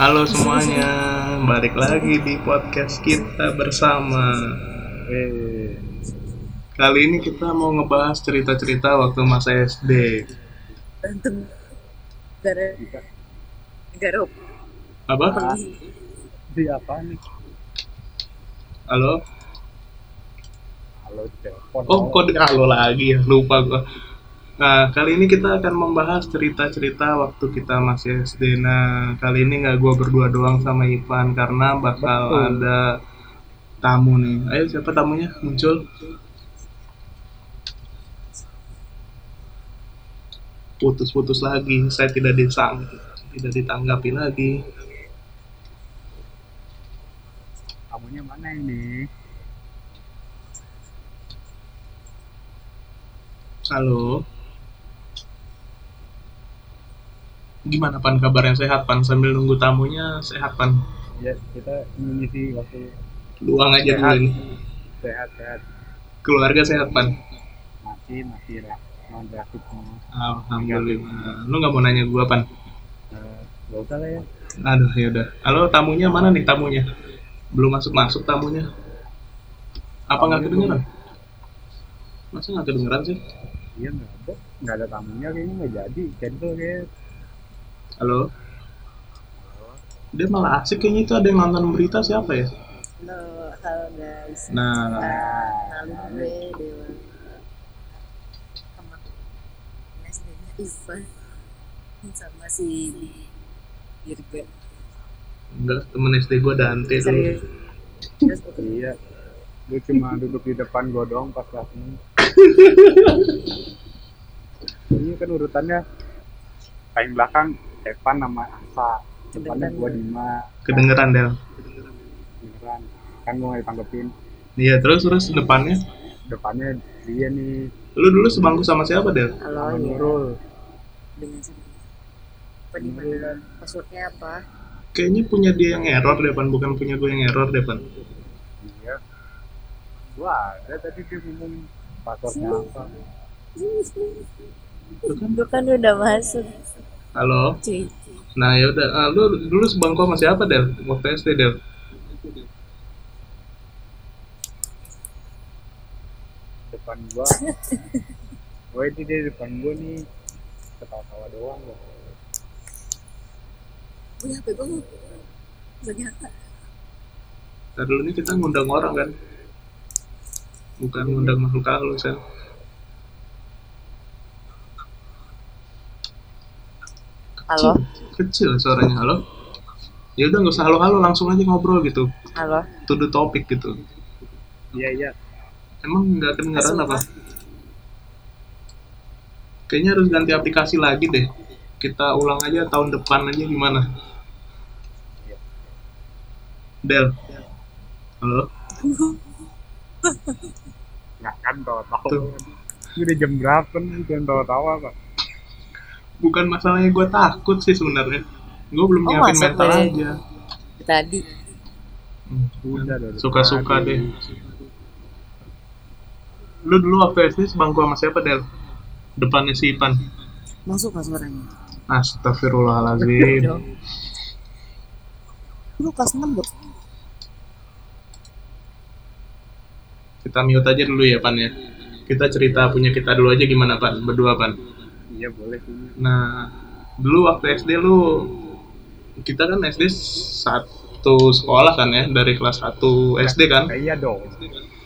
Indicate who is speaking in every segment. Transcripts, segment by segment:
Speaker 1: Halo semuanya, balik lagi di podcast kita bersama. Kali ini kita mau ngebahas cerita-cerita waktu masa SD.
Speaker 2: Untung gara
Speaker 3: Iya.
Speaker 2: gara
Speaker 1: Apa?
Speaker 3: Di apa nih?
Speaker 1: Halo?
Speaker 3: Halo telepon.
Speaker 1: Oh, kode halo lagi ya, lupa gua. Nah, kali ini kita akan membahas cerita-cerita waktu kita masih SD. Nah, kali ini nggak gua berdua doang sama Ivan karena bakal
Speaker 3: Betul.
Speaker 1: ada tamu nih. Ayo siapa tamunya? Muncul. Putus-putus lagi. Saya tidak disang tidak ditanggapi lagi.
Speaker 3: Tamunya mana ini?
Speaker 1: Halo. Gimana Pan kabarnya sehat Pan sambil nunggu tamunya sehat Pan.
Speaker 3: Ya kita mengisi waktu
Speaker 1: Luang aja dulu ini.
Speaker 3: sehat-sehat.
Speaker 1: Keluarga sehat Pan.
Speaker 3: Masih masih lah non reaktif semua.
Speaker 1: Alhamdulillah. Lu nggak mau nanya gua Pan?
Speaker 3: Eh, Gak usah lah ya.
Speaker 1: Aduh ya udah. Halo tamunya mana nih tamunya? Belum masuk masuk tamunya. Apa nggak kedengeran? Masa nggak kedengeran sih?
Speaker 3: Iya nggak ada. Nggak ada tamunya kayaknya nggak jadi. Cancel kayak.
Speaker 1: Halo. Dia malah asik kayaknya itu ada yang nonton berita siapa ya?
Speaker 2: Halo, halo guys.
Speaker 1: Nah,
Speaker 2: Lalu gue Dewa. Teman SD-nya Ivan sama si Irga.
Speaker 1: enggak temen SD gua Dante dulu.
Speaker 2: Serius. Terus
Speaker 3: Iya. Gue cuma duduk di depan gue doang pas kelas ini. ini kan urutannya paling belakang Evan sama Asa. Depannya
Speaker 2: Kedengeran.
Speaker 3: gue Dima.
Speaker 1: Kedengeran Del.
Speaker 3: Beneran. Kan gue nggak ditanggepin.
Speaker 1: Iya terus terus depannya.
Speaker 3: depannya dia nih
Speaker 1: Lu dulu sebangku sama siapa Del?
Speaker 2: halo
Speaker 3: sama
Speaker 2: ya.
Speaker 3: Nurul
Speaker 2: Dengan si apa di mana? Passwordnya apa?
Speaker 1: Kayaknya punya dia yang error deh Pan, bukan punya gue yang error deh Pan.
Speaker 3: iya gua ada tadi dia ngomong passwordnya apa
Speaker 2: Gue kan udah masuk.
Speaker 1: Halo.
Speaker 2: Cuy.
Speaker 1: Nah ya udah, Ah, lu dulu sebangku sama siapa Del? Waktu SD Del?
Speaker 3: depan gua oh ini dia depan gua nih ketawa-tawa doang loh
Speaker 2: Gue HP gue mau. Ternyata.
Speaker 1: Nah, dulu ini kita ngundang orang kan, bukan ngundang makhluk halus kan?
Speaker 2: Halo.
Speaker 1: Kecil suaranya halo. Ya udah nggak usah halo-halo, langsung aja ngobrol gitu,
Speaker 2: Halo.
Speaker 1: to the topic gitu.
Speaker 3: iya iya
Speaker 1: Emang nggak kedengeran apa? Kayaknya harus ganti aplikasi lagi deh. Kita ulang aja tahun depan aja gimana? Del. Halo.
Speaker 3: nggak kan
Speaker 1: Tuh.
Speaker 3: tawa-tawa ini udah jam berapa nih jangan tawa-tawa pak
Speaker 1: Bukan masalahnya gue takut sih sebenarnya. Gue belum
Speaker 2: Oh,
Speaker 1: nyiapin
Speaker 2: masa
Speaker 1: mental
Speaker 2: gue-
Speaker 1: aja.
Speaker 2: Tadi.
Speaker 1: Hmm.
Speaker 3: Udah, udah, udah.
Speaker 1: Suka-suka deh. Lu dulu waktu SD sebangku sama siapa Del? Depannya si Ipan.
Speaker 2: Masuk gak suaranya?
Speaker 1: Astagfirullahaladzim.
Speaker 2: Dong. Lu kelas 6 dong.
Speaker 1: kita mute aja dulu ya Pan ya. Kita cerita punya kita dulu aja gimana Pan? Berdua Pan.
Speaker 3: iya boleh sih
Speaker 1: Nah, dulu waktu SD lu kita kan SD satu sekolah kan ya dari kelas 1 SD kan?
Speaker 3: Eh, iya dong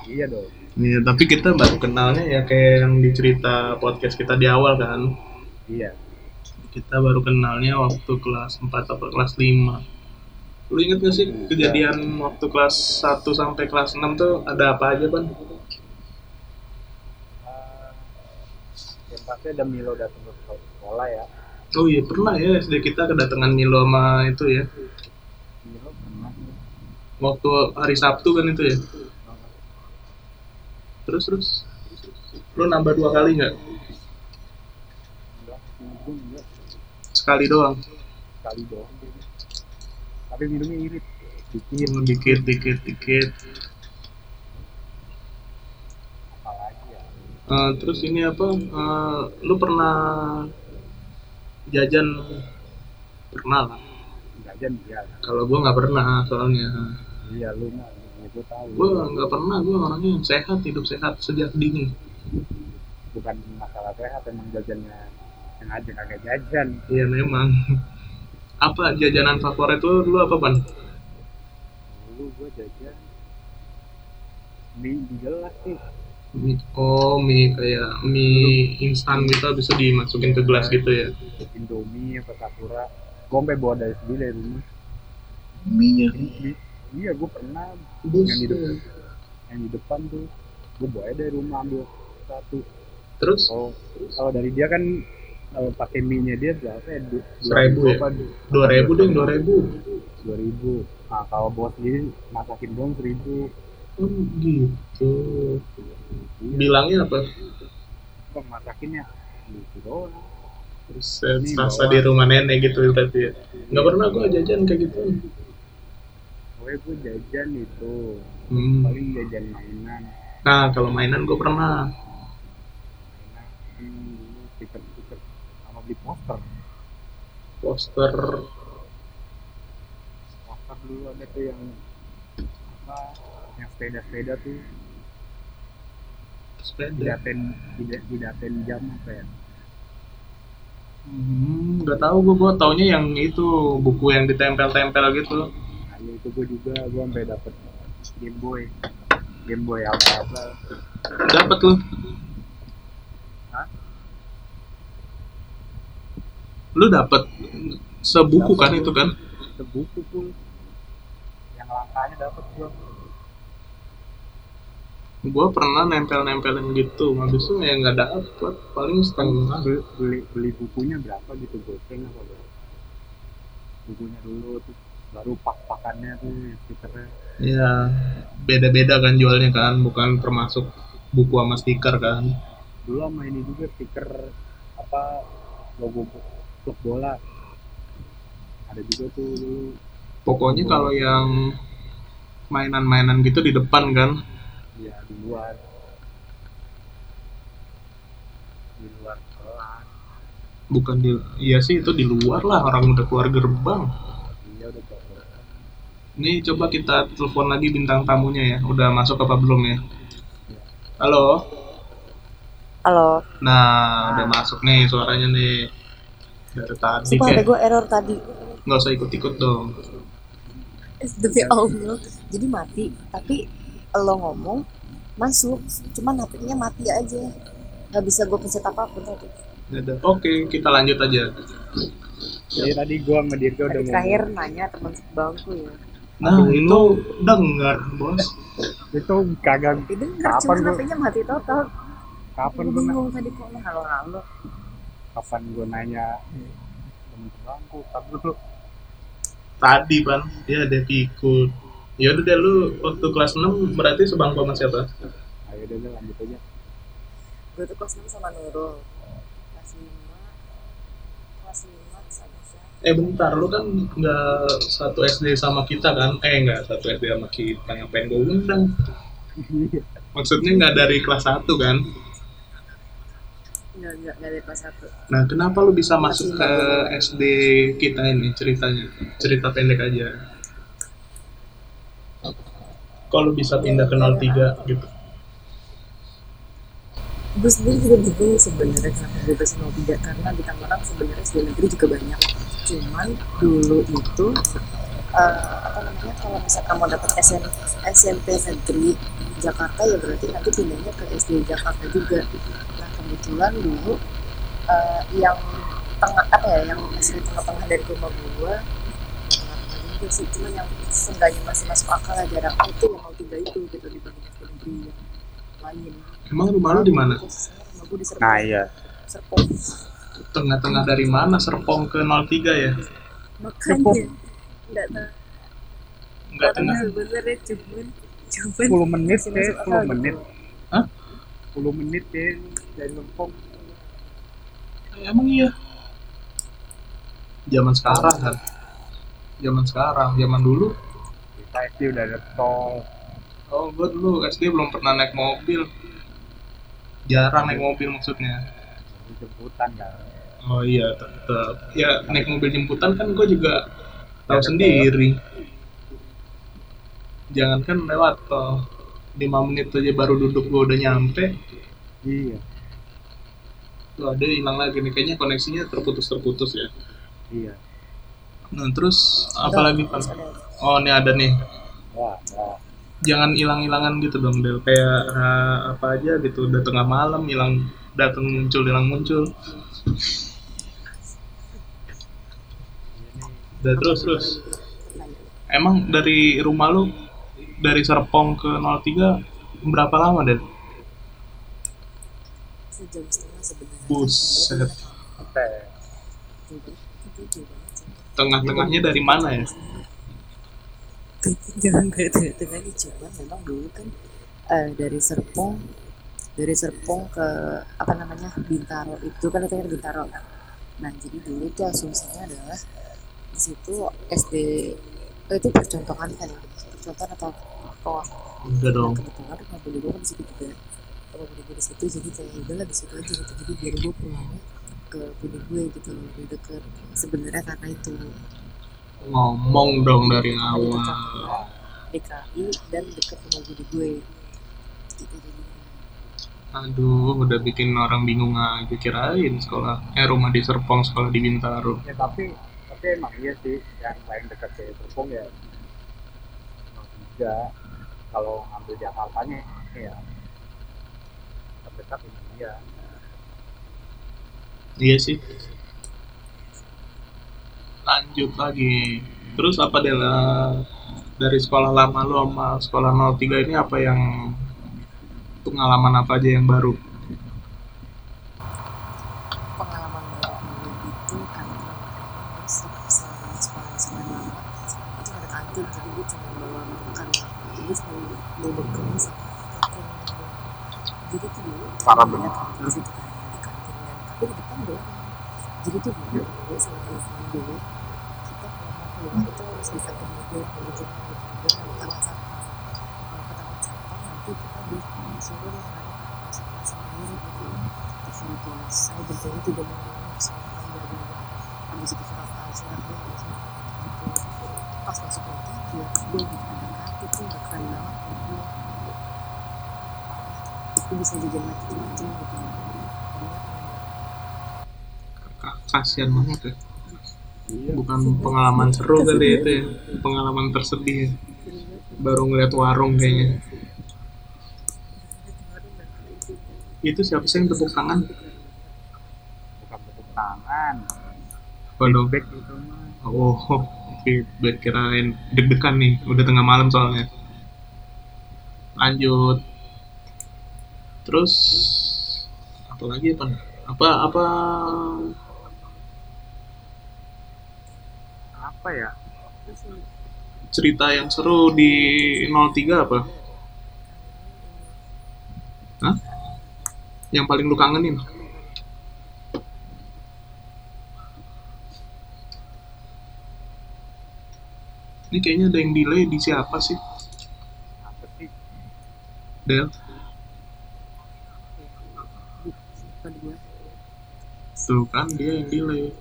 Speaker 3: iya dong
Speaker 1: Iya, tapi kita baru kenalnya ya kayak yang dicerita podcast kita di awal kan.
Speaker 3: iya
Speaker 1: Kita baru kenalnya waktu kelas 4 atau kelas 5. Lu inget gak sih kejadian waktu kelas 1 sampai kelas 6 tuh ada apa aja, Pan?
Speaker 3: Eh, yang pasti ada Milo datang ke sekolah ya
Speaker 1: Oh iya, pernah ya SD kita kedatangan Milo sama itu ya.
Speaker 3: Milo pernah nih.
Speaker 1: Waktu hari Sabtu kan itu ya. Terus terus lu nambah dua kali nggak?
Speaker 3: Enggak, minggu enggak.
Speaker 1: Sekali doang.
Speaker 3: sekali doang kayaknya. tapi minumnya irit
Speaker 1: Dikit, dikit, dikit, dikit.
Speaker 3: ya?
Speaker 1: Eh, terus ini apa? Eh, lu pernah jajan? Pernah lah.
Speaker 3: jajan iya lah.
Speaker 1: Kalau gua nggak pernah soalnya.
Speaker 3: iya lu mah itu tahu
Speaker 1: Gua nggak pernah. Gua orangnya sehat, hidup sehat sejak dini.
Speaker 3: bukan masalah sehat emang jajannya yang aja kagak jajan
Speaker 1: Iya memang. Apa jajanan favorit lu? Lu apa ban?
Speaker 3: dulu gua jajan mie di gelas sih
Speaker 1: Mie, oh mie kayak mie instan gitu bisa dimasukin ke gelas gitu ya.
Speaker 3: indomie apa sakura gua sampai bawa dari sendiri dari rumah
Speaker 1: Mie
Speaker 3: Ini- ini- iya gua pernah yang di depan
Speaker 1: Buset.
Speaker 3: yang di depan tuh gua bawa dari rumah ambil satu
Speaker 1: Terus
Speaker 3: kalau kalau dari dia kan kalau pakai mie nya dia berapa ya Du- dua
Speaker 1: Seribu
Speaker 3: ribu
Speaker 1: ya?
Speaker 3: apa
Speaker 1: dua ribu deh, dua ribu.
Speaker 3: dua ribu nah kalau bawa sendiri masakin doang seribu
Speaker 1: Oh, gitu. Bilangnya apa?
Speaker 3: bang masakinnya gitu doang
Speaker 1: Buset, Sasa di rumah nenek gitu berarti ya. Nggak pernah gua jajan kayak gitu.
Speaker 3: gue gue jajan itu
Speaker 1: Hmm.
Speaker 3: paling jajan mainan
Speaker 1: Nah kalau mainan gua pernah.
Speaker 3: mainan hmm, tiket tiket sama beli poster
Speaker 1: Poster
Speaker 3: poster dulu ada tuh yang apa yang sepeda sepeda tuh
Speaker 1: sepeda.
Speaker 3: didaten tidak didaten jam apa ya
Speaker 1: Hmm, nggak tahu gua gua taunya yang itu buku yang ditempel-tempel gitu.
Speaker 3: Nah, iya itu gue juga, gue sampai dapet Game Boy. Game Boy apa apa.
Speaker 1: Dapat lu.
Speaker 3: Hah?
Speaker 1: Lu dapat sebuku kan itu kan?
Speaker 3: Sebuku pun yang langkanya dapet gue.
Speaker 1: Gua pernah nempel-nempelin gitu, habis itu ya nggak dapat, paling setengah.
Speaker 3: Beli, beli, beli bukunya berapa gitu goceng apa berapa? Bukunya dulu tuh baru pak-pakannya tuh stikernya.
Speaker 1: Ya beda-beda kan jualnya kan, bukan termasuk buku sama stiker kan?
Speaker 3: Dulu sama ini juga stiker apa logo bu- klub bola. Ada juga tuh dulu
Speaker 1: Pokoknya kalau yang mainan-mainan gitu di depan kan,
Speaker 3: ya di luar di luar kelas
Speaker 1: bukan di, iya sih itu di luar lah orang udah keluar gerbang.
Speaker 3: dia udah gitu. keluar
Speaker 1: Ini coba kita telepon lagi bintang tamunya ya. Udah masuk apa belum ya? Halo.
Speaker 2: Halo.
Speaker 1: Nah, udah masuk nih suaranya nih. Dari tadi
Speaker 2: Sumpah
Speaker 1: kayak
Speaker 2: gue error tadi.
Speaker 1: nggak usah ikut-ikut dong.
Speaker 2: Demi Allah. Jadi mati. Tapi lo ngomong masuk. Cuman HP-nya mati aja. Gak bisa gue pencet apapun tadi.
Speaker 1: Ya udah. Oke, kita lanjut aja.
Speaker 3: Jadi tadi gua sama Dirga udah
Speaker 2: Tadi terakhir nanya teman sebangku ya.
Speaker 1: Nah, itu dengar, Bos.
Speaker 3: ngomong. Itu kagak
Speaker 2: Itu
Speaker 3: Kapan
Speaker 2: cuman
Speaker 3: gua-
Speaker 2: HP-nya mati total.
Speaker 3: kapan
Speaker 2: Gue
Speaker 3: gua na-
Speaker 2: bingung tadi kok lo halo-halo.
Speaker 3: kapan gua nanya temen bangku tapi lu
Speaker 1: Tadi, Ban, dia ada ikut. Ya udah deh lu waktu kelas 6 berarti sebangku sama siapa?
Speaker 3: ayo Nah, udah udah, lanjut aja
Speaker 2: Gue tuh kelas 6 sama Nurul. Kelas 5. Kelas 5 sama siapa?
Speaker 1: Eh bentar, lu kan nggak satu SD sama kita kan? Eh nggak satu SD sama kita, ngapain gue undang? Maksudnya nggak dari kelas 1 kan?
Speaker 2: Enggak, enggak, enggak dari kelas 1.
Speaker 1: Nah kenapa lu bisa masuk ke SD kita ini ceritanya? Cerita pendek aja. Kalau bisa pindah ke 03 gitu.
Speaker 2: gue sendiri juga bingung sebenarnya kenapa gue ke tidak karena di Tangerang sebenarnya SD negeri juga banyak cuman dulu itu eh, apa namanya kalau misalkan mau dapat SM, SMP negeri di Jakarta ya berarti nanti pindahnya ke SD Jakarta juga nah kebetulan dulu eh, yang tengah apa ya yang SD tengah-tengah dari rumah gue tengah-tengah juga sih cuman yang seenggaknya masih masuk akal ya jarak itu yang mau tiga itu gitu dibanding SD negeri yang lain
Speaker 1: Emang rumah lu di mana?
Speaker 3: nah iya
Speaker 2: Serpong.
Speaker 1: Tengah-tengah dari mana? Serpong ke 03 ya?
Speaker 2: Makanya enggak tahu.
Speaker 1: Nggak tengah.
Speaker 2: Sebenarnya ya, cuman cuman
Speaker 3: 10 menit
Speaker 2: masih
Speaker 3: deh
Speaker 2: masuk
Speaker 3: 10
Speaker 2: akal gitu.
Speaker 3: menit
Speaker 1: Hah?
Speaker 3: 10 menit ya, deh dari lempong
Speaker 1: Emang iya. Zaman sekarang kan. Zaman sekarang, zaman dulu.
Speaker 3: kita SD udah ada tol
Speaker 1: Oh, gue dulu SD belum pernah naik mobil. jarang naik mobil maksudnya
Speaker 3: Mobil jemputan kan
Speaker 1: oh iya tetap ya naik mobil jemputan kan gue juga tahu sendiri jangankan lewat tol 5 menit aja baru duduk gue udah nyampe
Speaker 3: iya
Speaker 1: tuh ada hilang lagi nih kayaknya koneksinya terputus terputus ya
Speaker 3: iya
Speaker 1: nah terus apalagi
Speaker 2: Terus
Speaker 1: Pan?
Speaker 2: ada
Speaker 1: oh ini ada nih
Speaker 3: wah wah
Speaker 1: jangan hilang-hilangan gitu dong Del kayak eh, apa aja gitu udah tengah malam hilang datang muncul hilang muncul udah terus terus
Speaker 2: pertanyaan.
Speaker 1: emang dari rumah lu dari Serpong ke 03 berapa lama Del?
Speaker 2: sejam setengah sebenarnya
Speaker 1: Buset
Speaker 3: oke
Speaker 2: Jadi, itu jauh banget sih.
Speaker 1: tengah-tengahnya dari mana ya?
Speaker 2: jangan kayak ternyata lagi cuman memang dulu kan eh, dari Serpong dari Serpong ke apa namanya Bintaro itu kan itu kan Bintaro kan nah jadi dulu tuh asumsinya adalah di situ SD eh, itu percontohan kan ya percontohan atau bawah
Speaker 1: udah
Speaker 2: Nah,
Speaker 1: dong
Speaker 2: kebetulan rumah beli gue kan di situ juga rumah beli gue di situ jadi kayak udah lah di situ aja gitu jadi biar gue pulangnya ke bini gue gitu loh lebih deket sebenarnya karena itu
Speaker 1: ngomong dong dari
Speaker 2: Ada
Speaker 1: awal
Speaker 2: percakapan DKI dan deket rumah bini gue gitu jadinya
Speaker 1: aduh udah bikin orang bingung aja kirain sekolah eh rumah di Serpong sekolah di Bintaro
Speaker 3: ya tapi tapi emang iya sih yang paling dekat dari Serpong ya juga kalau ngambil Jakartanya ya terdekat ini dia
Speaker 1: Iya sih. Lanjut lagi. Terus apa Del? Eh, dari sekolah lama lu sama sekolah 03 ini apa yang pengalaman apa aja yang baru?
Speaker 2: pengalaman baru gue itu karena gue se- selama sekolah sekolah lama itu ada kantin jadi gue cuma bawa makan jadi gue cuma bawa bekal sama tepung jadi tuh dulu
Speaker 3: Parah
Speaker 2: ada
Speaker 3: banget.
Speaker 2: kantin situ kan ada kantin dan tapi di depan doang jadi tuh dulu gue sama teman gue kita kalau mau keluar itu harus bisa ketemu gue di jalan gitu gue nggak tahu sampah kalau ke taman sampah nanti kita disuruh mengalir sampah sendiri gitu terus gitu saya berjanji tidak mengulangi kesalahan bla bla bla habis itu surat al surat b habis itu gitu pas masuk lagi dia gue gitu ada kartu tuh udah keren banget buat gue itu bisa jajan macam-macam gitu Jadinya
Speaker 1: Ka- Kasian banget ya.
Speaker 3: iya
Speaker 1: Bukan pengalaman seru kali itu ya. Pengalaman tersedih. ya. Baru ngeliat warung kayaknya. Itu siapa sih yang tepuk tangan?
Speaker 3: bukan bentuk tangan
Speaker 1: Waduh.
Speaker 3: back itu mah
Speaker 1: Oh, feedback kirain deg-degan nih, udah tengah malam soalnya. Lanjut. Terus apa lagi apa? Apa apa
Speaker 3: apa ya
Speaker 2: terus ini
Speaker 1: cerita yang seru di 03 apa? Hah? Yang paling lu kangenin? Ini kayaknya ada yang delay di siapa sih?
Speaker 3: apa sih
Speaker 1: Del?
Speaker 2: bukan gue
Speaker 1: Tuh kan dia yang delay.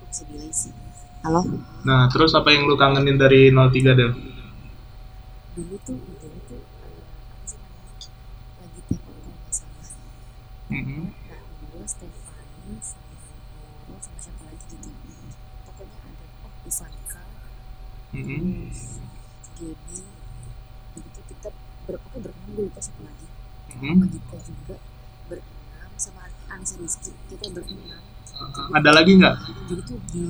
Speaker 2: kok bisa delay sih halo
Speaker 1: Nah, terus apa yang lu kangenin dari 03 Del?
Speaker 2: dulu tuh dulu tuh eh, apa sih namanya lagi telepon kalau nggak salah Nah, gue Stefani sama Noro sama siapa lagi gitu. Pokoknya ada oh Ivanka,
Speaker 1: Mm-mm.
Speaker 2: Gaby, itu kita ber, pokoknya berenam gue lupa siapa lagi.
Speaker 1: Mm-mm.
Speaker 2: Sama Gita juga berenam sama Anissa Rizky kita berenam.
Speaker 1: Ada lagi nggak?
Speaker 2: Jadi tuh di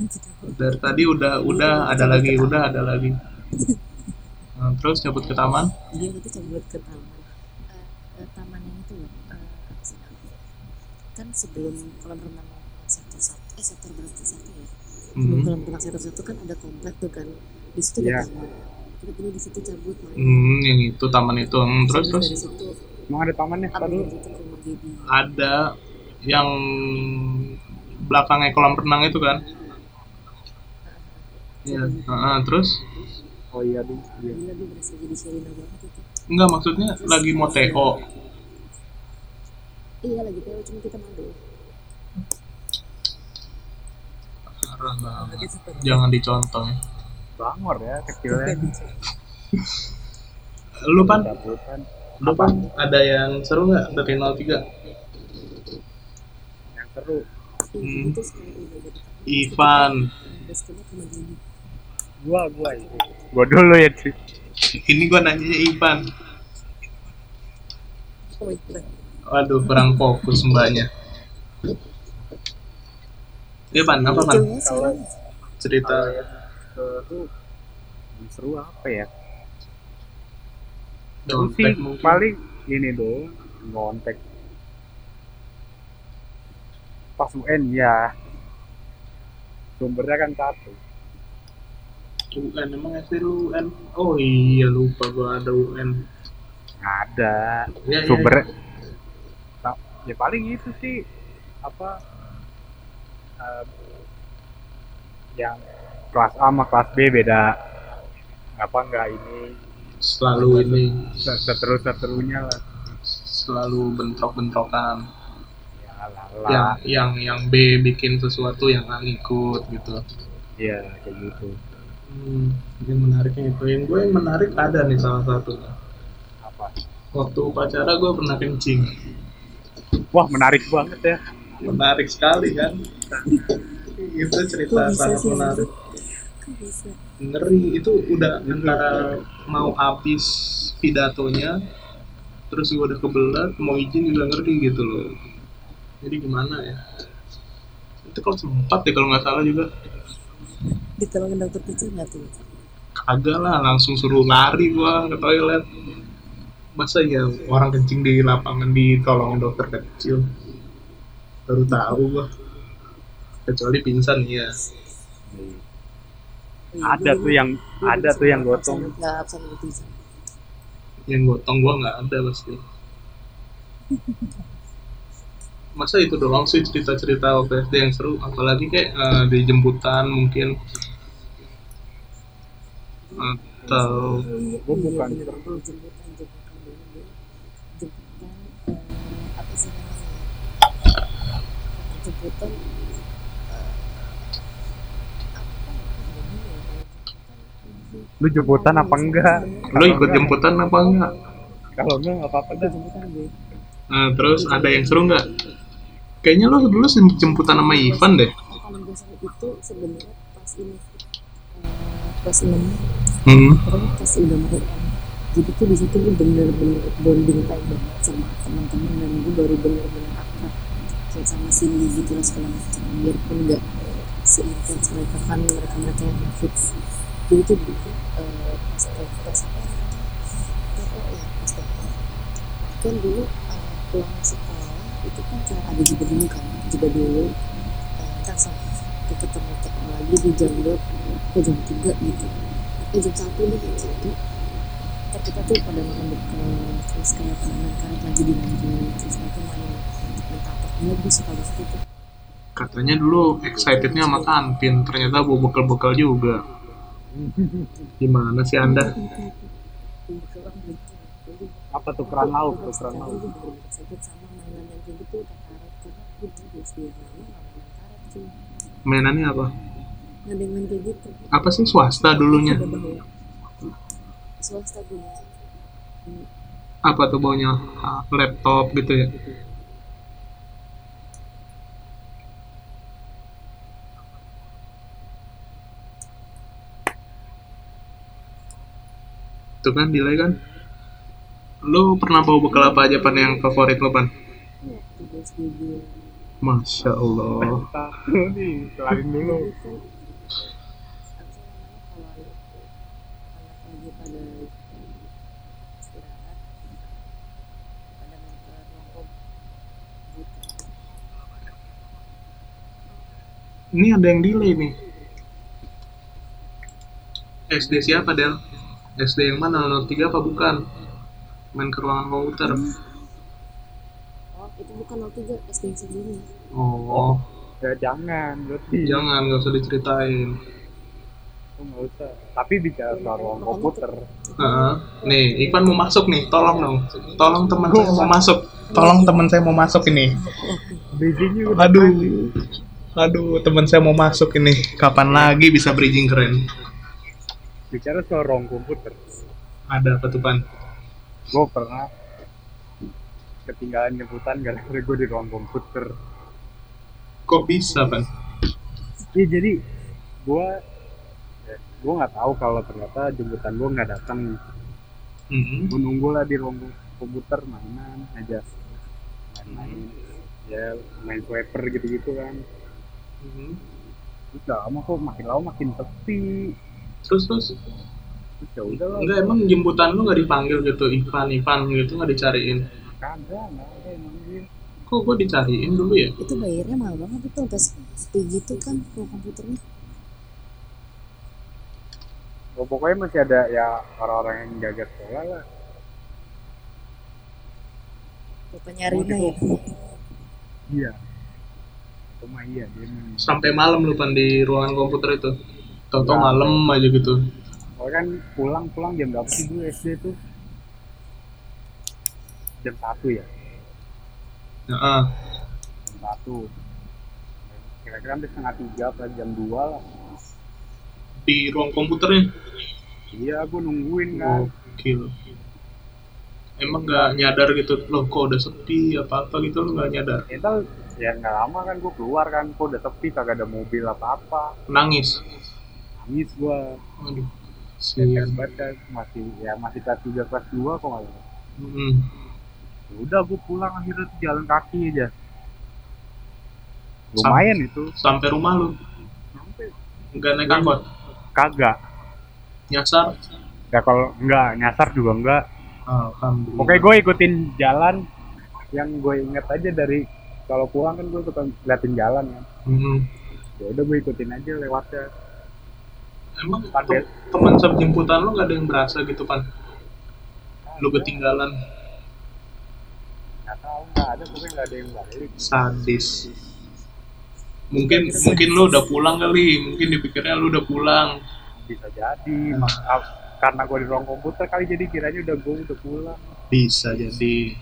Speaker 2: ini gitu.
Speaker 1: Dari tadi udah udah ada lagi, udah ada lagi. Nah, terus nyebut ke taman?
Speaker 2: Dia itu coba ke taman. Eh, eh, taman yang itu loh, eh, apa sih namanya? Kan sebelum kolam renang yang sektor satu, eh sektor berapa satu ya? Sebelum
Speaker 1: Mm-mm.
Speaker 2: kolam renang sektor satu kan ada komplek tuh kan. Di situ
Speaker 3: Mm-hmm. Iya. Mm,
Speaker 2: ada taman. Kita dulu di situ cabut main.
Speaker 1: Hmm, yang itu taman itu. Hmm, terus terus
Speaker 2: dari situ
Speaker 3: emang ada tamannya
Speaker 2: apa
Speaker 3: Ntar dulu
Speaker 2: gitu ke rumah Gaby.
Speaker 1: ada yang belakangnya kolam renang itu kan? Iya. Heeh, terus
Speaker 3: oh iya ding iya
Speaker 2: Gila gue berasa jadi Sherina banget itu
Speaker 1: Enggak maksudnya lagi mau TO.
Speaker 2: Iya lagi TO cuma kita madu
Speaker 1: Parah banget. Jangan dicontoh ya.
Speaker 3: bangor ya kecilnya
Speaker 1: Lu pan,
Speaker 3: cabutan
Speaker 1: lu pan ada yang seru nggak dari 03?
Speaker 3: yang seru
Speaker 1: Hmm.
Speaker 2: Iya, Itu sekali udah jadi
Speaker 1: Ivan,
Speaker 2: Basketnya cuma gini
Speaker 3: gua gua itu gua dulu ya sih
Speaker 1: ini gua nanyanya Ivan.
Speaker 2: Oh iya
Speaker 1: Waduh, kurang fokus mbaknya. Iya pan, apa pan?
Speaker 2: Jauhnya seru
Speaker 3: Kalau-
Speaker 1: Cerita ya.
Speaker 3: seru seru apa ya Seru sih
Speaker 1: contek mungkin.
Speaker 3: paling ini doang ngontek pas UN ya sumbernya kan satu
Speaker 1: UN emang SD lu UN. Oh iya lupa gua ada UN.
Speaker 3: ada
Speaker 1: Ya, ya,
Speaker 3: sumbernya
Speaker 1: ya.
Speaker 3: Nah, ya paling itu sih apa eh, yang kelas A sama kelas B beda apa enggak ini
Speaker 1: Selalu ini
Speaker 3: seteru seterunya lah
Speaker 1: selalu bentrok-bentrokan.
Speaker 3: ya
Speaker 1: yang yang
Speaker 3: lala
Speaker 1: yang B bikin sesuatu yang A ikut gitu.
Speaker 3: ya kayak gitu
Speaker 1: Hmm, yang menariknya itu yang gue yang menarik ada nih salah satu.
Speaker 3: apa
Speaker 1: Waktu upacara gue pernah kencing.
Speaker 3: wah menarik banget ya
Speaker 1: Menarik sekali kan? itu
Speaker 2: Kok
Speaker 1: cerita
Speaker 2: bisa
Speaker 1: sangat
Speaker 2: sih Mas?
Speaker 1: menarik.
Speaker 2: Kok bisa
Speaker 1: Ngeri itu udah antara mau habis pidatonya terus gue udah kebelet mau izin juga ngeri gitu loh jadi gimana ya itu kalau sempat deh kalau nggak salah juga
Speaker 2: Ditolongin dokter kecil nggak tuh
Speaker 1: kagak lah langsung suruh lari gua ke toilet masa ya orang kencing di lapangan ditolongin dokter kecil baru tahu gua kecuali pingsan ya
Speaker 2: Iya,
Speaker 3: ada
Speaker 2: gue
Speaker 3: tuh
Speaker 2: dulu-
Speaker 3: yang
Speaker 2: gue
Speaker 3: ada
Speaker 2: dulu
Speaker 3: tuh yang
Speaker 2: sama
Speaker 3: gotong
Speaker 2: absen- nggak absen netizen.
Speaker 1: yang gotong gua nggak ada pasti masa itu doang sih cerita-cerita waktu SD yang seru apalagi kayak eh, di jemputan mungkin atau
Speaker 3: Gue
Speaker 2: Iya,
Speaker 3: bukan.
Speaker 2: bener. Gue jemputan jemputan dulu gue. jemputan eh, apa sih namanya jemputan eh, apa ya, namanya ya, jemputan-
Speaker 3: lu jemputan apa enggak
Speaker 1: lo ikut jemputan apa enggak
Speaker 3: kalau enggak nggak apa-apa
Speaker 2: Ikut
Speaker 3: dah
Speaker 2: jemputan gue
Speaker 1: Nah, terus ada yang seru nggak? Kayaknya lo dulu jemputan sama Ivan deh.
Speaker 2: paling gue seru itu sebenarnya pas ini eh, kelas enam
Speaker 1: Hmm.
Speaker 2: Pokoknya pas udah mau UN jadi tuh di situ gue bener-bener bonding time banget sama teman-teman dan gue baru bener-bener akrab kayak sama Cindy gitu lah segala macam biarpun nggak seintens mereka kan mereka mereka yang fix jadi tuh dulu eh, pas TK pas apa ya TK ya pas TK kan dulu eh, pulang sekolah itu kan kayak ada juga dulu kan juga dulu eh, ntar sampai ketemu TK lagi di jam dua ke jam tiga gitu eh jam satu deh jam satu ntar kita tuh pada makan deket terus kayak permainan karet lagi dilanjut terus nanti main main tapak dulu gue suka banget itu
Speaker 1: Katanya dulu excitednya sama kantin, ternyata bawa bekal-bekal juga. Gimana sih anda?
Speaker 2: Yang berkelang gitu. Jadi,
Speaker 3: apa tuh kerang laut
Speaker 2: aku- aku
Speaker 3: tuh kerang
Speaker 2: sekarang
Speaker 3: laut
Speaker 2: tuh bener-bener sakit sama mainan yang kayak gitu kayak karet karena gue dulu di SD yang lama nggak mainan karet cuy
Speaker 1: Mainannya apa?
Speaker 2: nggak ada yang main kayak gitu
Speaker 1: Apa sih swasta dulunya?
Speaker 2: Ada bahaya. swasta gue Hmm,
Speaker 1: Apa tuh baunya Ah, laptop gitu ya? Tuh kan delay kan? Lo pernah bawa bekal apa aja pan yang favorit lo pan?
Speaker 2: waktu gue SD gue
Speaker 1: Masya Allah.
Speaker 3: Tah, nih kelarin dulu
Speaker 2: itu apa namanya kalau anak lagi pada istirahat pada main ke ruang komputer
Speaker 1: Ini ada yang delay nih. SD siapa Del? SD yang mana? 03 apa bukan? Main ke ruangan komputer.
Speaker 2: oh itu bukan waktu itu SD yang sebelumnya
Speaker 1: Oh,
Speaker 3: ya jangan berarti
Speaker 1: jangan nggak usah diceritain.
Speaker 3: Oh, nggak usah. Tapi bicara soal ruang komputer,
Speaker 1: Heeh. Nih, Ivan mau masuk nih, tolong dong. Tolong teman saya mau masuk. Tolong teman saya mau masuk ini.
Speaker 3: bridgingnya udah
Speaker 1: Aduh. Aduh, teman saya mau masuk ini. Kapan lagi bisa bridging keren?
Speaker 3: bicara soal ruang komputer.
Speaker 1: Ada petupan.
Speaker 3: Gue pernah ketinggalan nyebutan gara-gara gue di ruang komputer.
Speaker 1: Kok bisa, Pan?
Speaker 3: Iya jadi gue gue nggak tahu kalau ternyata jemputan gue nggak datang.
Speaker 1: Mm-mm.
Speaker 3: Gue nunggu lah di ruang komputer mainan aja, main-main. Ya main swiper gitu-gitu kan.
Speaker 1: Mm-mm.
Speaker 3: Terus lama kok makin lama makin sepi.
Speaker 1: Terus terus
Speaker 3: Terus ya udah lah.
Speaker 1: enggak emang jemputan lu nggak dipanggil gitu Ivan Ivan gitu nggak dicariin.
Speaker 3: Kagak, nggak ada yang manggil.
Speaker 1: Kok gua dicariin dulu ya?
Speaker 2: itu bayarnya mahal banget itu sampai sepi gitu kan ruang komputernya
Speaker 3: Oh, pokoknya masih ada ya orang-orang yang jaga sekolah lah.
Speaker 2: bapaknya Rina ya
Speaker 3: Iya. Cuma iya dia memang.
Speaker 1: Sampai malam lu Pan di ruangan komputer itu. Tahu-tahu malam aja gitu.
Speaker 3: Kalau kan pulang-pulang jam berapa sih dulu SD tuh? Jam satu ya,
Speaker 1: Heeh.
Speaker 3: jam satu. Kira-kira sampai setengah tiga atau jam dua lah.
Speaker 1: Di ruang komputernya.
Speaker 3: Iya, gue nungguin
Speaker 1: Oh.
Speaker 3: kan.
Speaker 1: Gokil. Emang nggak nyadar gitu loh kok udah sepi apa apa gitu lo nggak nyadar
Speaker 3: Itu ya nggak lama kan gue keluar kan, kok udah sepi kagak ada mobil apa-apa.
Speaker 1: nangis.
Speaker 3: Nangis gue.
Speaker 1: Aduh.
Speaker 3: Kasian
Speaker 1: Sian.
Speaker 3: banget kan, masih ya masih kelas tiga kelas dua kok nggak salah.
Speaker 1: Mm.
Speaker 3: Ya udah gue pulang akhirnya tuh jalan kaki aja lumayan itu
Speaker 1: Sampai rumah lu
Speaker 3: sampai
Speaker 1: nggak naik angkot.
Speaker 3: kagak
Speaker 1: Nyasar.
Speaker 3: ya kalau nggak nyasar juga nggak
Speaker 1: Alhamdulillah.
Speaker 3: oke gue ikutin jalan yang gue inget aja dari kalau pulang kan gue suka ngeliatin jalan kan
Speaker 1: Mm.
Speaker 3: ya udah gue ikutin aja lewatnya
Speaker 1: Emang
Speaker 3: Target.
Speaker 1: tem- teman sejemputan lu nggak ada yang berasa gitu pan? Lu ketinggalan.
Speaker 3: nggak tahu nggak ada pokoknya nggak ada yang balik
Speaker 1: Sadis. Mungkin mungkin lu udah pulang kali. Mungkin dipikirnya lu udah pulang.
Speaker 3: bisa jadi mak- ah, karena gue di ruang komputer kali jadi kiranya udah gue udah pulang
Speaker 1: Bisa jadi.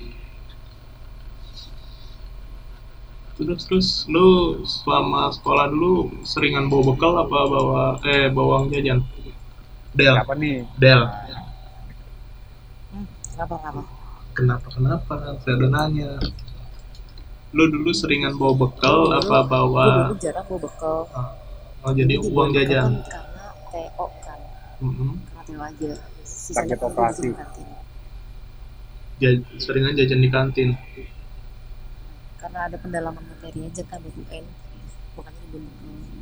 Speaker 1: Terus terus lu selama sekolah dulu seringan bawa bekal apa bawa eh bawa uang jajan? Del,
Speaker 3: siapa nih
Speaker 1: Del.
Speaker 2: hmm, kenapa kenapa
Speaker 1: Kenapa kenapa? Saya udah nanya. Lu dulu seringan bawa bekal apa bawa
Speaker 2: gue dulu jarang bawa bekal
Speaker 1: oh, jadi
Speaker 2: Jadi
Speaker 1: uang
Speaker 2: bawa bekal
Speaker 1: jajan?
Speaker 2: kan karena TO kan
Speaker 1: Mm-mm.
Speaker 2: karena TO aja
Speaker 3: Target
Speaker 2: kan
Speaker 3: operasi.
Speaker 2: di kantin.
Speaker 1: Ja- seringan jajan di kantin.
Speaker 2: karena ada pendalaman materi aja kan buat UN makanya dibunuh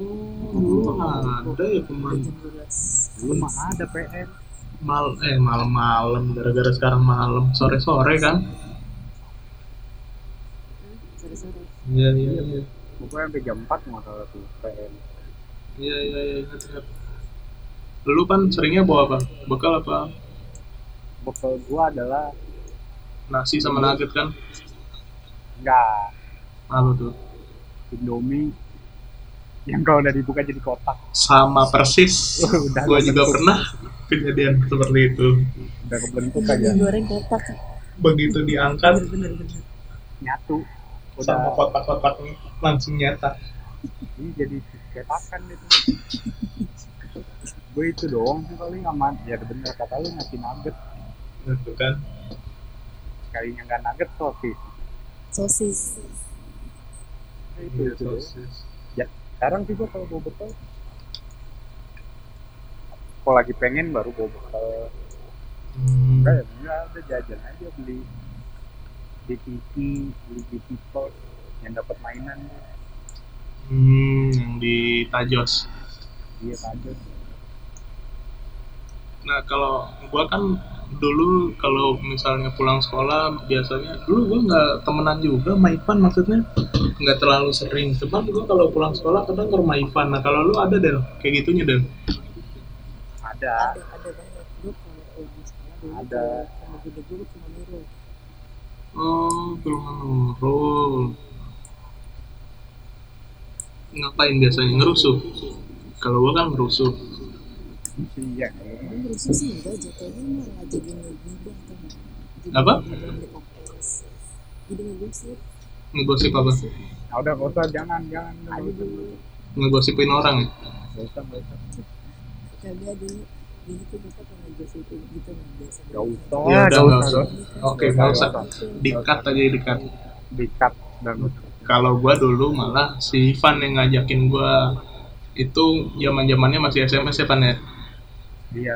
Speaker 1: Oh, ada ya teman
Speaker 2: jam 12
Speaker 3: dulu mah ada PM
Speaker 1: mal eh malam-malam gara-gara sekarang malam sore-sore kan?
Speaker 2: sore-sore
Speaker 1: Iya iya iya.
Speaker 3: pokoknya sampai jam 4 nggak salah tuh PM
Speaker 1: Iya iya iya ingat ingat. Lu kan seringnya bawa apa? Bekal apa?
Speaker 3: bekal gue adalah
Speaker 1: Nasi sama nugget kan?
Speaker 3: nggak
Speaker 1: Apa tuh?
Speaker 3: Indomie yang kalau udah dibuka jadi kotak
Speaker 1: Sama persis.
Speaker 3: Udah,
Speaker 1: Gua juga
Speaker 3: kebentuk.
Speaker 1: pernah kejadian seperti itu.
Speaker 3: udah kebentuk aja
Speaker 2: Iya, goreng kotak
Speaker 1: Begitu diangkat
Speaker 2: bener bener
Speaker 3: nyatu udah
Speaker 1: sama kotak-kotak langsung nyata.
Speaker 3: ini jadi cetakan itu gue itu doang sih paling aman ya bener kata lu nasi nugget
Speaker 1: Gitu kan?
Speaker 3: kalinya nggak nugget sosis
Speaker 2: sosis
Speaker 3: Ya, itu
Speaker 1: Iya,
Speaker 3: itu doang.
Speaker 1: sosis.
Speaker 3: ya sekarang sih gue kalau gue bekal kalau lagi pengen baru gue bekal
Speaker 1: Hmm,
Speaker 3: enggak ya enggak udah jajan aja beli di TV beli di people yang dapat mainan
Speaker 1: hmm, yang di Tajos.
Speaker 3: dia tajam
Speaker 1: Nah kalau gua kan dulu kalau misalnya pulang sekolah biasanya dulu gua nggak temenan juga sama Ivan maksudnya nggak terlalu sering cuman gua kalau pulang sekolah kadang ke rumah Ivan nah kalau lu ada deh kayak gitunya deh
Speaker 3: ada
Speaker 2: ada ada banget dulu kalau pulang sekolah dulu
Speaker 3: Ada.
Speaker 2: kalau gede dulu cuma nurul
Speaker 1: oh ke rumah Nurul ngapain biasanya ngerusuh kalau gua kan merusuh
Speaker 3: Iya.
Speaker 2: Tapi berusaha Kan sih enggak jatuhnya malah jadi newbie deh atau enggak. Jadi
Speaker 1: Apa?
Speaker 2: newbie di podcast. Jadi ngegosip.
Speaker 1: ngegosip apa
Speaker 2: Ngegosip.
Speaker 3: Nah, udah nggak usah, jangan, jangan. Nggak usah,
Speaker 2: Aduh,
Speaker 1: ngegosipin orang ya
Speaker 3: nggak usah, nggak usah.
Speaker 2: kagak dulu dulu tuh kita pernah ngegosipin gitu nggak biasa.
Speaker 3: Nggak
Speaker 1: Ya
Speaker 3: usah,
Speaker 1: udah,
Speaker 3: nggak
Speaker 1: nggak
Speaker 3: Oh, usah.
Speaker 1: usah. Oke, nggak usah. Dikat aja dikat.
Speaker 3: Dikat dan
Speaker 1: Kalau gua dulu malah si Ivan yang ngajakin gua itu zaman zamannya masih SMS ya Pan ya.
Speaker 3: dia.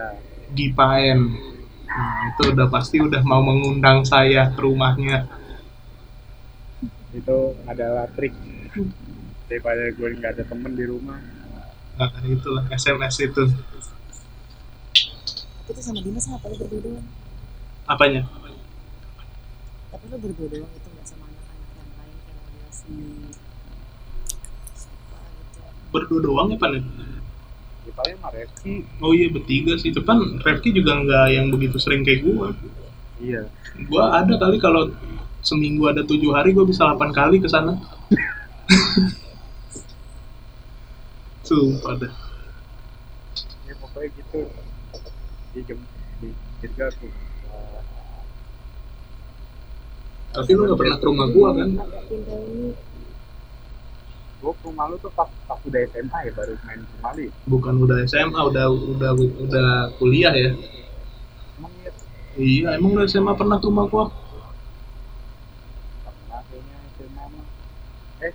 Speaker 1: di Paen. Nah, itu udah pasti udah mau mengundang saya ke rumahnya.
Speaker 3: Itu adalah trik daripada gue nggak ada temen di rumah.
Speaker 1: Nah, itulah SMS itu.
Speaker 2: Tapi tuh sama Dimas kenapa lo berdua doang?
Speaker 1: Apanya?
Speaker 2: Tapi lo berdua doang itu nggak sama anak-anak yang lain kayak ada si siapa gitu.
Speaker 1: Berdua doang ya Pan ya?
Speaker 3: Di paling mah Reski.
Speaker 1: Oh iya bertiga sih. Itu Pan Refki juga nggak yang begitu sering kayak gua.
Speaker 3: Iya.
Speaker 1: Gua ada kali kalau seminggu ada tujuh hari gua bisa 8 kali ke sana. Sumpah dah.
Speaker 3: Ya pokoknya gitu. Di jam di jeda tuh. Eh,
Speaker 1: Tapi lu gak pernah ke rumah gua kan?
Speaker 2: Agak pindah ini.
Speaker 3: Gue ke rumah lu tuh pas pas udah SMA ya baru main ke rumah lu. ya?
Speaker 1: Bukan udah SMA, udah udah udah kuliah ya.
Speaker 3: Emang ya
Speaker 1: Iya, emang lu SMA pernah ke rumah gua?
Speaker 3: pernah kayaknya SMA mah. Eh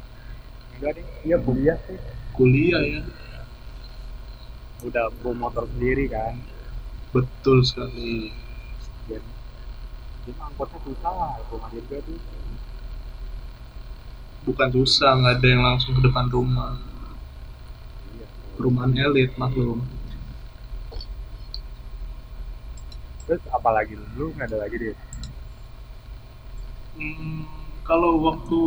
Speaker 3: enggak deh. Iya kuliah sih.
Speaker 1: Kuliah ya.
Speaker 3: Udah bawa motor sendiri kan.
Speaker 1: Betul sekali.
Speaker 3: Dan dia mah angkotnya susah lah rumah dia juga tuh.
Speaker 1: Bukan susah, nggak ada yang langsung ke depan rumah.
Speaker 3: Iya.
Speaker 1: Perumahan elit, maklum.
Speaker 3: Terus apalagi lu? lu nggak ada lagi deh.
Speaker 1: Hmm, kalau waktu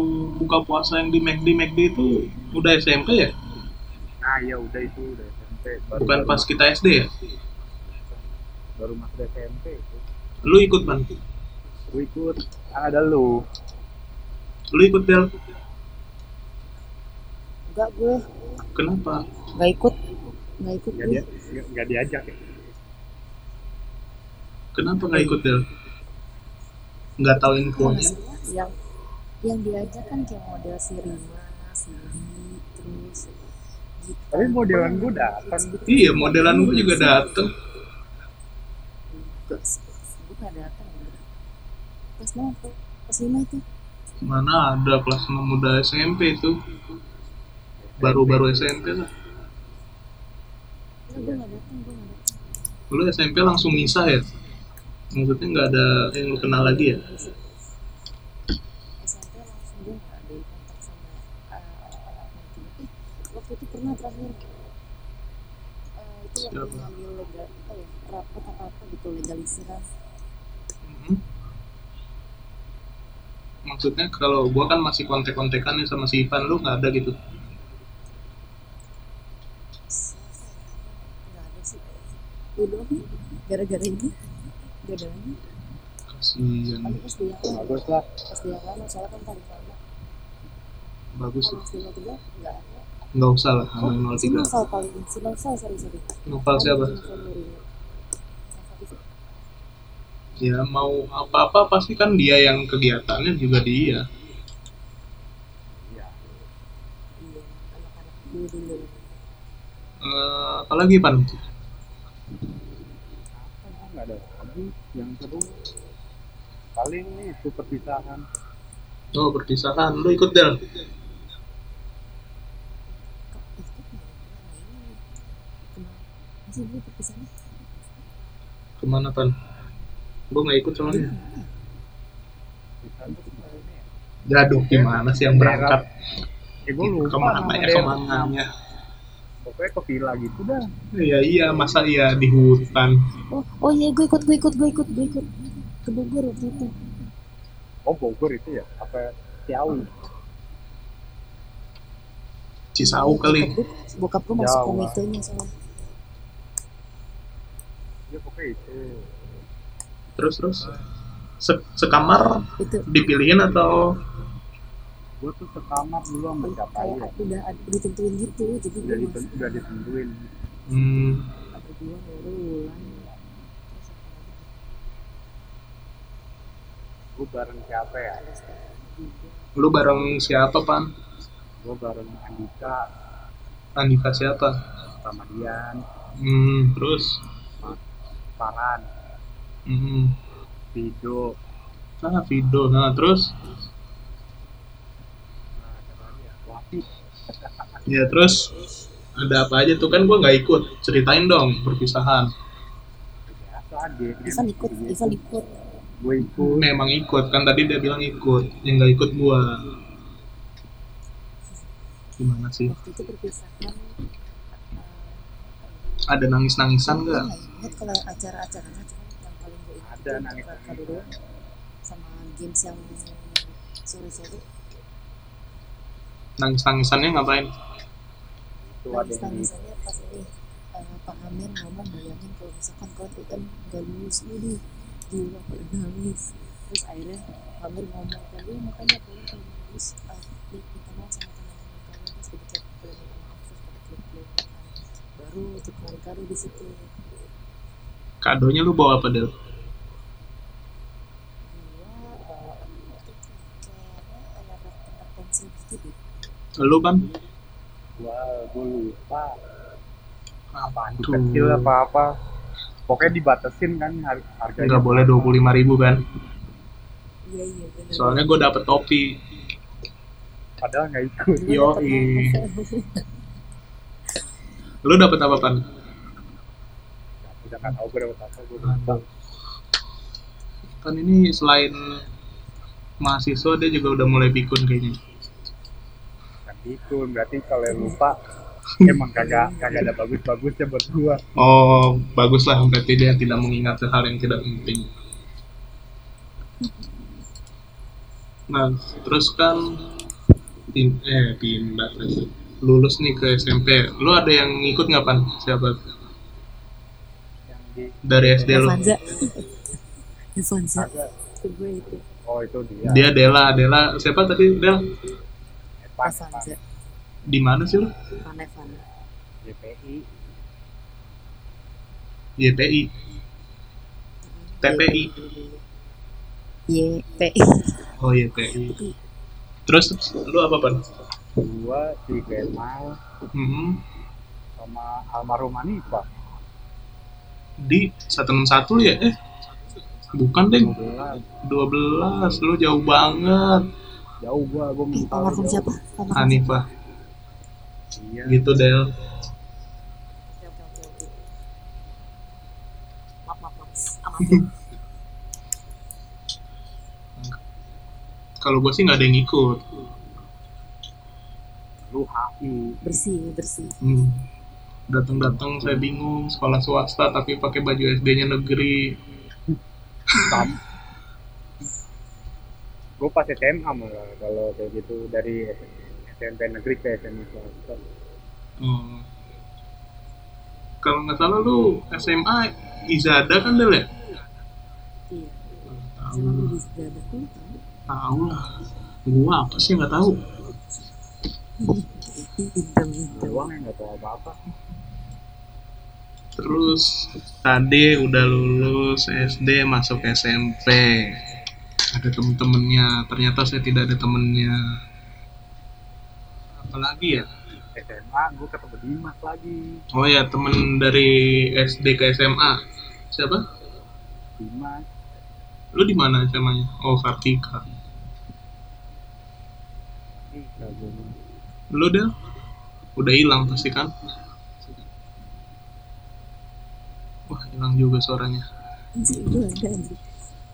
Speaker 1: buka puasa yang di E McD, McD itu udah SMP ya?
Speaker 3: Nah iya udah itu udah SMP. Baru,
Speaker 1: Bukan
Speaker 3: baru
Speaker 1: pas kita SD ya?
Speaker 3: baru masuk SMP itu.
Speaker 1: Lu ikut, Pan?
Speaker 3: Gue ikut. Ah, ada lu.
Speaker 1: Lu ikut, Del?
Speaker 2: Enggak gue
Speaker 1: Kenapa?
Speaker 2: nggak ikut nggak ikut
Speaker 3: Nggak
Speaker 2: gue.
Speaker 3: Iya, dia nggak- nggak diajak ya.
Speaker 1: Kenapa nggak ikut, Del? Nggak tahu infonya?
Speaker 2: Maksudnya yang yang diajak kan kayak model si Rima, si Didi, terus gitu.
Speaker 3: Tapi modelan gue datang.
Speaker 1: Iya, modelan gua juga dateng.
Speaker 2: Enggak sih, gue nggak datang. Pas mau ke- pas lima itu
Speaker 1: Mana ada kelas 6 udah SMP itu? Baru-baru SMP lah.
Speaker 2: Enggak, gue ya nggak datang, gue nggak datang.
Speaker 1: Lu SMP langsung misah ya? Maksudnya nggak ada yang lu kenal lagi ya?
Speaker 2: SMP langsung gue nggak ada kontak sama eh, anak mungkin. Eh, waktu itu pernah terakhir eh, itu
Speaker 1: Siapa?
Speaker 2: waktu ngambil legal apa ya rapat apa apa gitu legalisiran
Speaker 1: Mhm. Maksudnya kalau gua kan masih kontek-kontekan nih sama si Ivan, lu nggak ada gitu.
Speaker 2: nggak ada sih lu doang nih, gara-gara ini gak ada lagi
Speaker 1: Kasian,
Speaker 2: paling SD yang lama
Speaker 3: Bagus lah.
Speaker 2: SD yang lama soalnya kan paling lama
Speaker 1: bagus
Speaker 2: kalau
Speaker 1: lah.
Speaker 2: SD yang tiga nggak ada
Speaker 1: Nggak usah lah, sama yang 03.
Speaker 2: oh, Sinovel paling Sinovel sorry sorry
Speaker 1: Novel siapa?
Speaker 2: Sinovel Mourinho. Sinovel itu.
Speaker 1: Ya mau apa-apa pasti kan dia yang kegiatannya juga dia.
Speaker 3: Iya.
Speaker 2: iya anak-anak dulu dulu
Speaker 1: Eh, apalagi Pan?
Speaker 3: Apa nggak ada lagi. Yang kedua paling nih itu perpisahan.
Speaker 1: Oh perpisahan, lu ikut Del?
Speaker 2: masih gue perpisahan
Speaker 1: Kemana Pan? Gua nggak ikut soalnya.
Speaker 3: Perpisahan tuh kemana ya?
Speaker 1: Jaduh gimana sih yang berangkat?
Speaker 3: Eh gue lupa.
Speaker 1: Kemana
Speaker 3: nama
Speaker 1: ya
Speaker 3: daerah.
Speaker 1: kemana ya?
Speaker 3: Pokoknya ke villa gitu dah.
Speaker 1: Iya iya masa iya di hutan.
Speaker 2: oh oh iya gue ikut gue ikut gue ikut gue ikut ke Bogor waktu itu
Speaker 3: Oh Bogor itu ya? Apa Ciawi?
Speaker 1: Cisau kali.
Speaker 2: Bokap gue- bokap gue masuk
Speaker 3: Jawa.
Speaker 2: komitenya soalnya
Speaker 3: Ya pokoknya itu.
Speaker 1: Terus terus. Se- sekamar
Speaker 2: itu
Speaker 1: dipilihin atau
Speaker 3: gue tuh sekamar dulu sama siapa aja
Speaker 2: kayak udah ada- ditentuin gitu jadi
Speaker 3: udah
Speaker 2: gue
Speaker 3: diten-
Speaker 2: masuk
Speaker 3: udah ditentuin
Speaker 1: hmm.
Speaker 2: ada dua baru Wulan. Terus apa lagi?
Speaker 3: gue bareng siapa ya
Speaker 2: Ada Stefan juga.
Speaker 1: lu bareng siapa pan
Speaker 3: gue bareng Andika
Speaker 1: Andika siapa
Speaker 3: sama Dian
Speaker 1: hmm. terus
Speaker 3: Paran
Speaker 1: hmm.
Speaker 3: Vido
Speaker 1: nah Vido nah terus
Speaker 3: nah, siapa lagi ya? Wati
Speaker 1: ya terus ada apa aja tuh kan gua nggak ikut ceritain dong perpisahan
Speaker 3: biasa dia
Speaker 2: Ivan ikut Ivan ikut
Speaker 3: gue ikut
Speaker 1: memang ikut kan tadi dia bilang ikut yang nggak ikut gua gimana sih
Speaker 2: waktu itu perpisahan
Speaker 1: ada nangis nangisan
Speaker 2: gue
Speaker 1: nggak
Speaker 2: nggak ingat Nah, kalau yang acara-acaranya cuman yang paling gue ingat
Speaker 3: Iya. Ada
Speaker 2: itu
Speaker 3: nangis-
Speaker 2: tukar kado doang sama games yang sore-sore
Speaker 1: nangis nangisannya ngapain
Speaker 3: itu ada
Speaker 2: nangis
Speaker 3: yang di
Speaker 2: tangisannya Nah, pas ini eh, Pak Amir ngomong bayangin kalau misalkan kau tuh kan gak lulus lu nih gila kok nangis terus akhirnya Pak Amir ngomong kan lu makanya kalian kalau nggak lulus eh, lu minta maaf sama teman-teman kalian terus dibaca kalian minta maaf terus pada klik-klik baru tukar kado di situ
Speaker 1: kadonya lu bawa apa del
Speaker 2: gua eh, waktu itu kayaknya ada kotak pensil gitu deh
Speaker 1: lu kan
Speaker 3: gue gue lupa
Speaker 1: apaan
Speaker 3: di kecil apa apa pokoknya dibatasin kan har- harganya
Speaker 1: nggak boleh dua puluh lima ribu kan
Speaker 2: iya iya benar
Speaker 1: soalnya gua dapet topi
Speaker 3: padahal nggak ikut
Speaker 1: Yo, lu dapet apa pan
Speaker 3: udah nggak tahu gue dapet apa gue
Speaker 1: Mantap. kan ini selain mahasiswa dia juga udah mulai pikun kayaknya
Speaker 3: kan itu berarti kalau yang lupa emang kagak kagak ada bagus-bagusnya buat gua
Speaker 1: Oh, baguslah berarti dia tidak mengingat hal yang tidak penting. Nah, terus kan pin- eh pindah lagi. Lulus nih ke SMP. Lu ada yang ngikut nggak pan? Siapa?
Speaker 3: yang di
Speaker 2: Iya.
Speaker 1: Dari SD lu?
Speaker 2: Evanza Evanza
Speaker 3: kagak
Speaker 2: itu gue itu
Speaker 3: oh itu dia Eh,
Speaker 1: Dia Dela, Dela. Siapa tadi Del?
Speaker 3: pas pas
Speaker 2: Evanza
Speaker 1: Di mana sih lu?
Speaker 2: Van Evan
Speaker 3: GPI
Speaker 1: YPI. TPI.
Speaker 2: YPI
Speaker 1: Oh YPI. Terus lu apa pan?
Speaker 3: gua si Kemal
Speaker 1: Mhm.
Speaker 3: sama almarhum Anifa
Speaker 1: Di 161 ya? Eh, bukan deh.
Speaker 3: 12
Speaker 1: 12 lu jauh banget
Speaker 3: jauh gua gua
Speaker 2: Eh,
Speaker 3: minta
Speaker 2: almarhum siapa? Almarhum
Speaker 1: Hanifah
Speaker 3: iya
Speaker 1: gitu Del
Speaker 2: siapa? Oke, oke, oke, oke. Maaf, maaf, maaf. Amatir.
Speaker 1: kalau gue sih nggak ada yang ikut
Speaker 3: lu HI
Speaker 2: bersih, bersih.
Speaker 1: hmm. datang-datang saya bingung sekolah swasta tapi pakai baju SD-nya negeri
Speaker 3: Tam. gue pas SMA malah kalau kayak gitu dari SMP negeri ke SMA swasta.
Speaker 1: hmm. kalau nggak salah lu SMA Izada kan Del ya
Speaker 2: Iya. Sama gue
Speaker 1: tahu
Speaker 2: di kan? dada gue tahu.
Speaker 1: tahu lah gua apa sih nggak tahu
Speaker 2: Hitam, hitam.
Speaker 3: doang yang nggak tahu apa apa
Speaker 1: terus tadi udah lulus SD masuk SMP ada temen-temennya ternyata saya tidak ada temennya apalagi ya
Speaker 3: SMA gue ketemu Dimas lagi
Speaker 1: oh ya temen dari SD ke SMA siapa
Speaker 3: Dimas
Speaker 1: lu di mana SMA nya oh Kartika
Speaker 3: ih nggak gua-
Speaker 1: lu Del? udah hilang pasti kan wah hilang juga suaranya
Speaker 2: Anjir, itu ada anjir.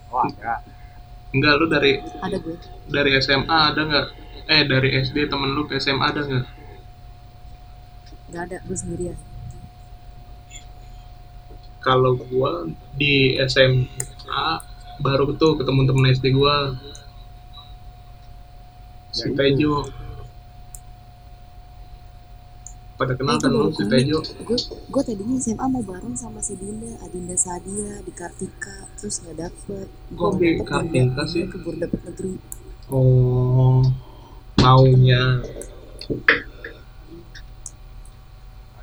Speaker 3: oh ada
Speaker 1: enggak lu dari
Speaker 2: Ada gue.
Speaker 1: dari SMA ada nggak eh dari SD temen lu ke SMA ada nggak
Speaker 2: Gak ada, gue sendirian.
Speaker 1: kalau gua di SMA baru tuh ketemu temen SD gua si
Speaker 3: Ya, itu.
Speaker 1: Tejo pada kenal kan
Speaker 2: Itu
Speaker 1: lu
Speaker 2: baru
Speaker 1: si
Speaker 2: unik.
Speaker 1: Tejo
Speaker 2: Gue, gue tadinya SMA mau bareng sama si Dinda, Adinda Sadia, di Kartika, terus gak dapet. Gue
Speaker 1: Kok di Kartika sih?
Speaker 2: Gue kebur dapet negeri.
Speaker 1: oh maunya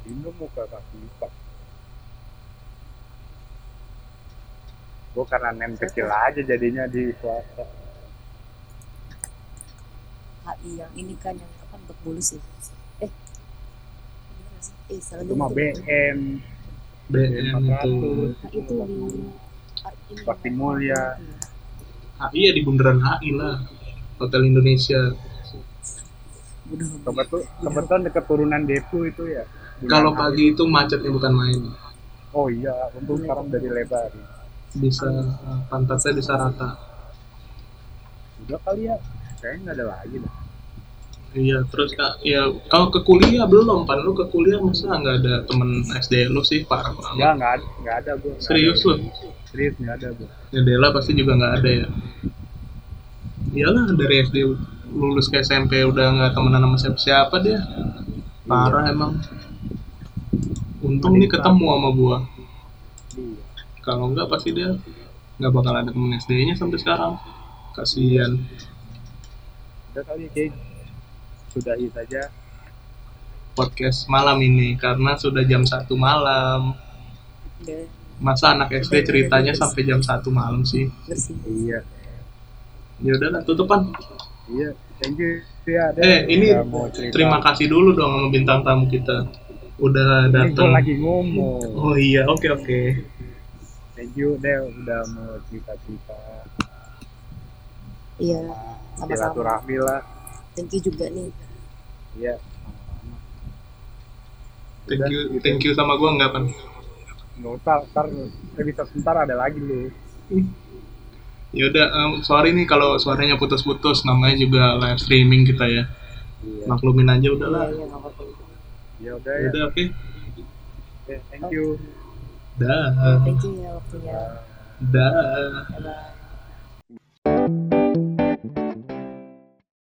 Speaker 3: Adindo muka kaki lipat. Gue karena nem kecil aja jadinya di swasta.
Speaker 2: HI yang ini kan yang apa untuk bulus ya eh bener nggak sih? eh salah
Speaker 3: Itu mah
Speaker 2: gitu.
Speaker 3: BM,
Speaker 1: BM itu
Speaker 3: 400,
Speaker 2: Nah, itu di ar- ini Iya,
Speaker 3: Bakti Mulia.
Speaker 1: HI ya di bundaran HI lah Hotel Indonesia
Speaker 2: Udah
Speaker 3: Kebetul, kebetulan dekat turunan Depu itu ya. Bulan
Speaker 1: kalau
Speaker 3: April.
Speaker 1: pagi itu macetnya bukan main
Speaker 3: Oh iya, untung sekarang udah
Speaker 1: iya.
Speaker 3: dilebarin.
Speaker 1: bisa pantatnya bisa rata
Speaker 3: Udah kali ya, kayaknya nggak ada lagi dah.
Speaker 1: iya terus Kak, ya kalau ke kuliah belum pan lu ke kuliah masa nggak ada temen SD lu sih parah
Speaker 3: Nggak,
Speaker 1: banget
Speaker 3: nggak ada, nggak ada gue.
Speaker 1: serius lu
Speaker 3: Serius nggak ada gue.
Speaker 1: ya Dela pasti juga nggak ada ya iyalah dari SD lulus ke SMP udah nggak temenan sama siapa-siapa dia parah emang untung nih ketemu sama gua
Speaker 3: Iya.
Speaker 1: kalau nggak pasti dia nggak bakal ada temen SD-nya sampai sekarang kasihan
Speaker 3: Udah kali ya, kayak sudahi saja.
Speaker 1: podcast malam ini karena sudah jam satu malam
Speaker 2: dan
Speaker 1: masa anak SD ceritanya sampai jam satu malam sih
Speaker 2: bersih
Speaker 3: Iya.
Speaker 1: ya udahlah tutupan
Speaker 3: Iya, thank you. Ya,
Speaker 1: eh ini terima kasih dulu dong sama bintang tamu kita udah
Speaker 3: Gue
Speaker 1: datang
Speaker 3: lagi ngomong.
Speaker 1: oh iya oke oke
Speaker 3: Thank you, Del, udah mau cerita-cerita.
Speaker 2: iya sama-sama
Speaker 3: Silaturahmi lah.
Speaker 2: thank you juga nih
Speaker 3: Iya.
Speaker 1: thank you thank you sama gua nggak pan
Speaker 3: Nggak usah, ntar episode sebentar ada lagi lu.
Speaker 1: ya udah em, sorry nih kalau suaranya putus-putus namanya juga live streaming kita ya
Speaker 3: Iya.
Speaker 1: maklumin aja udahlah
Speaker 2: iya iya nggak apa-apa
Speaker 3: Ya udah
Speaker 1: ya
Speaker 3: ya.
Speaker 1: udah oke
Speaker 3: Oke, Thank you.
Speaker 1: dah
Speaker 2: thank you ya waktunya
Speaker 1: dah
Speaker 2: bye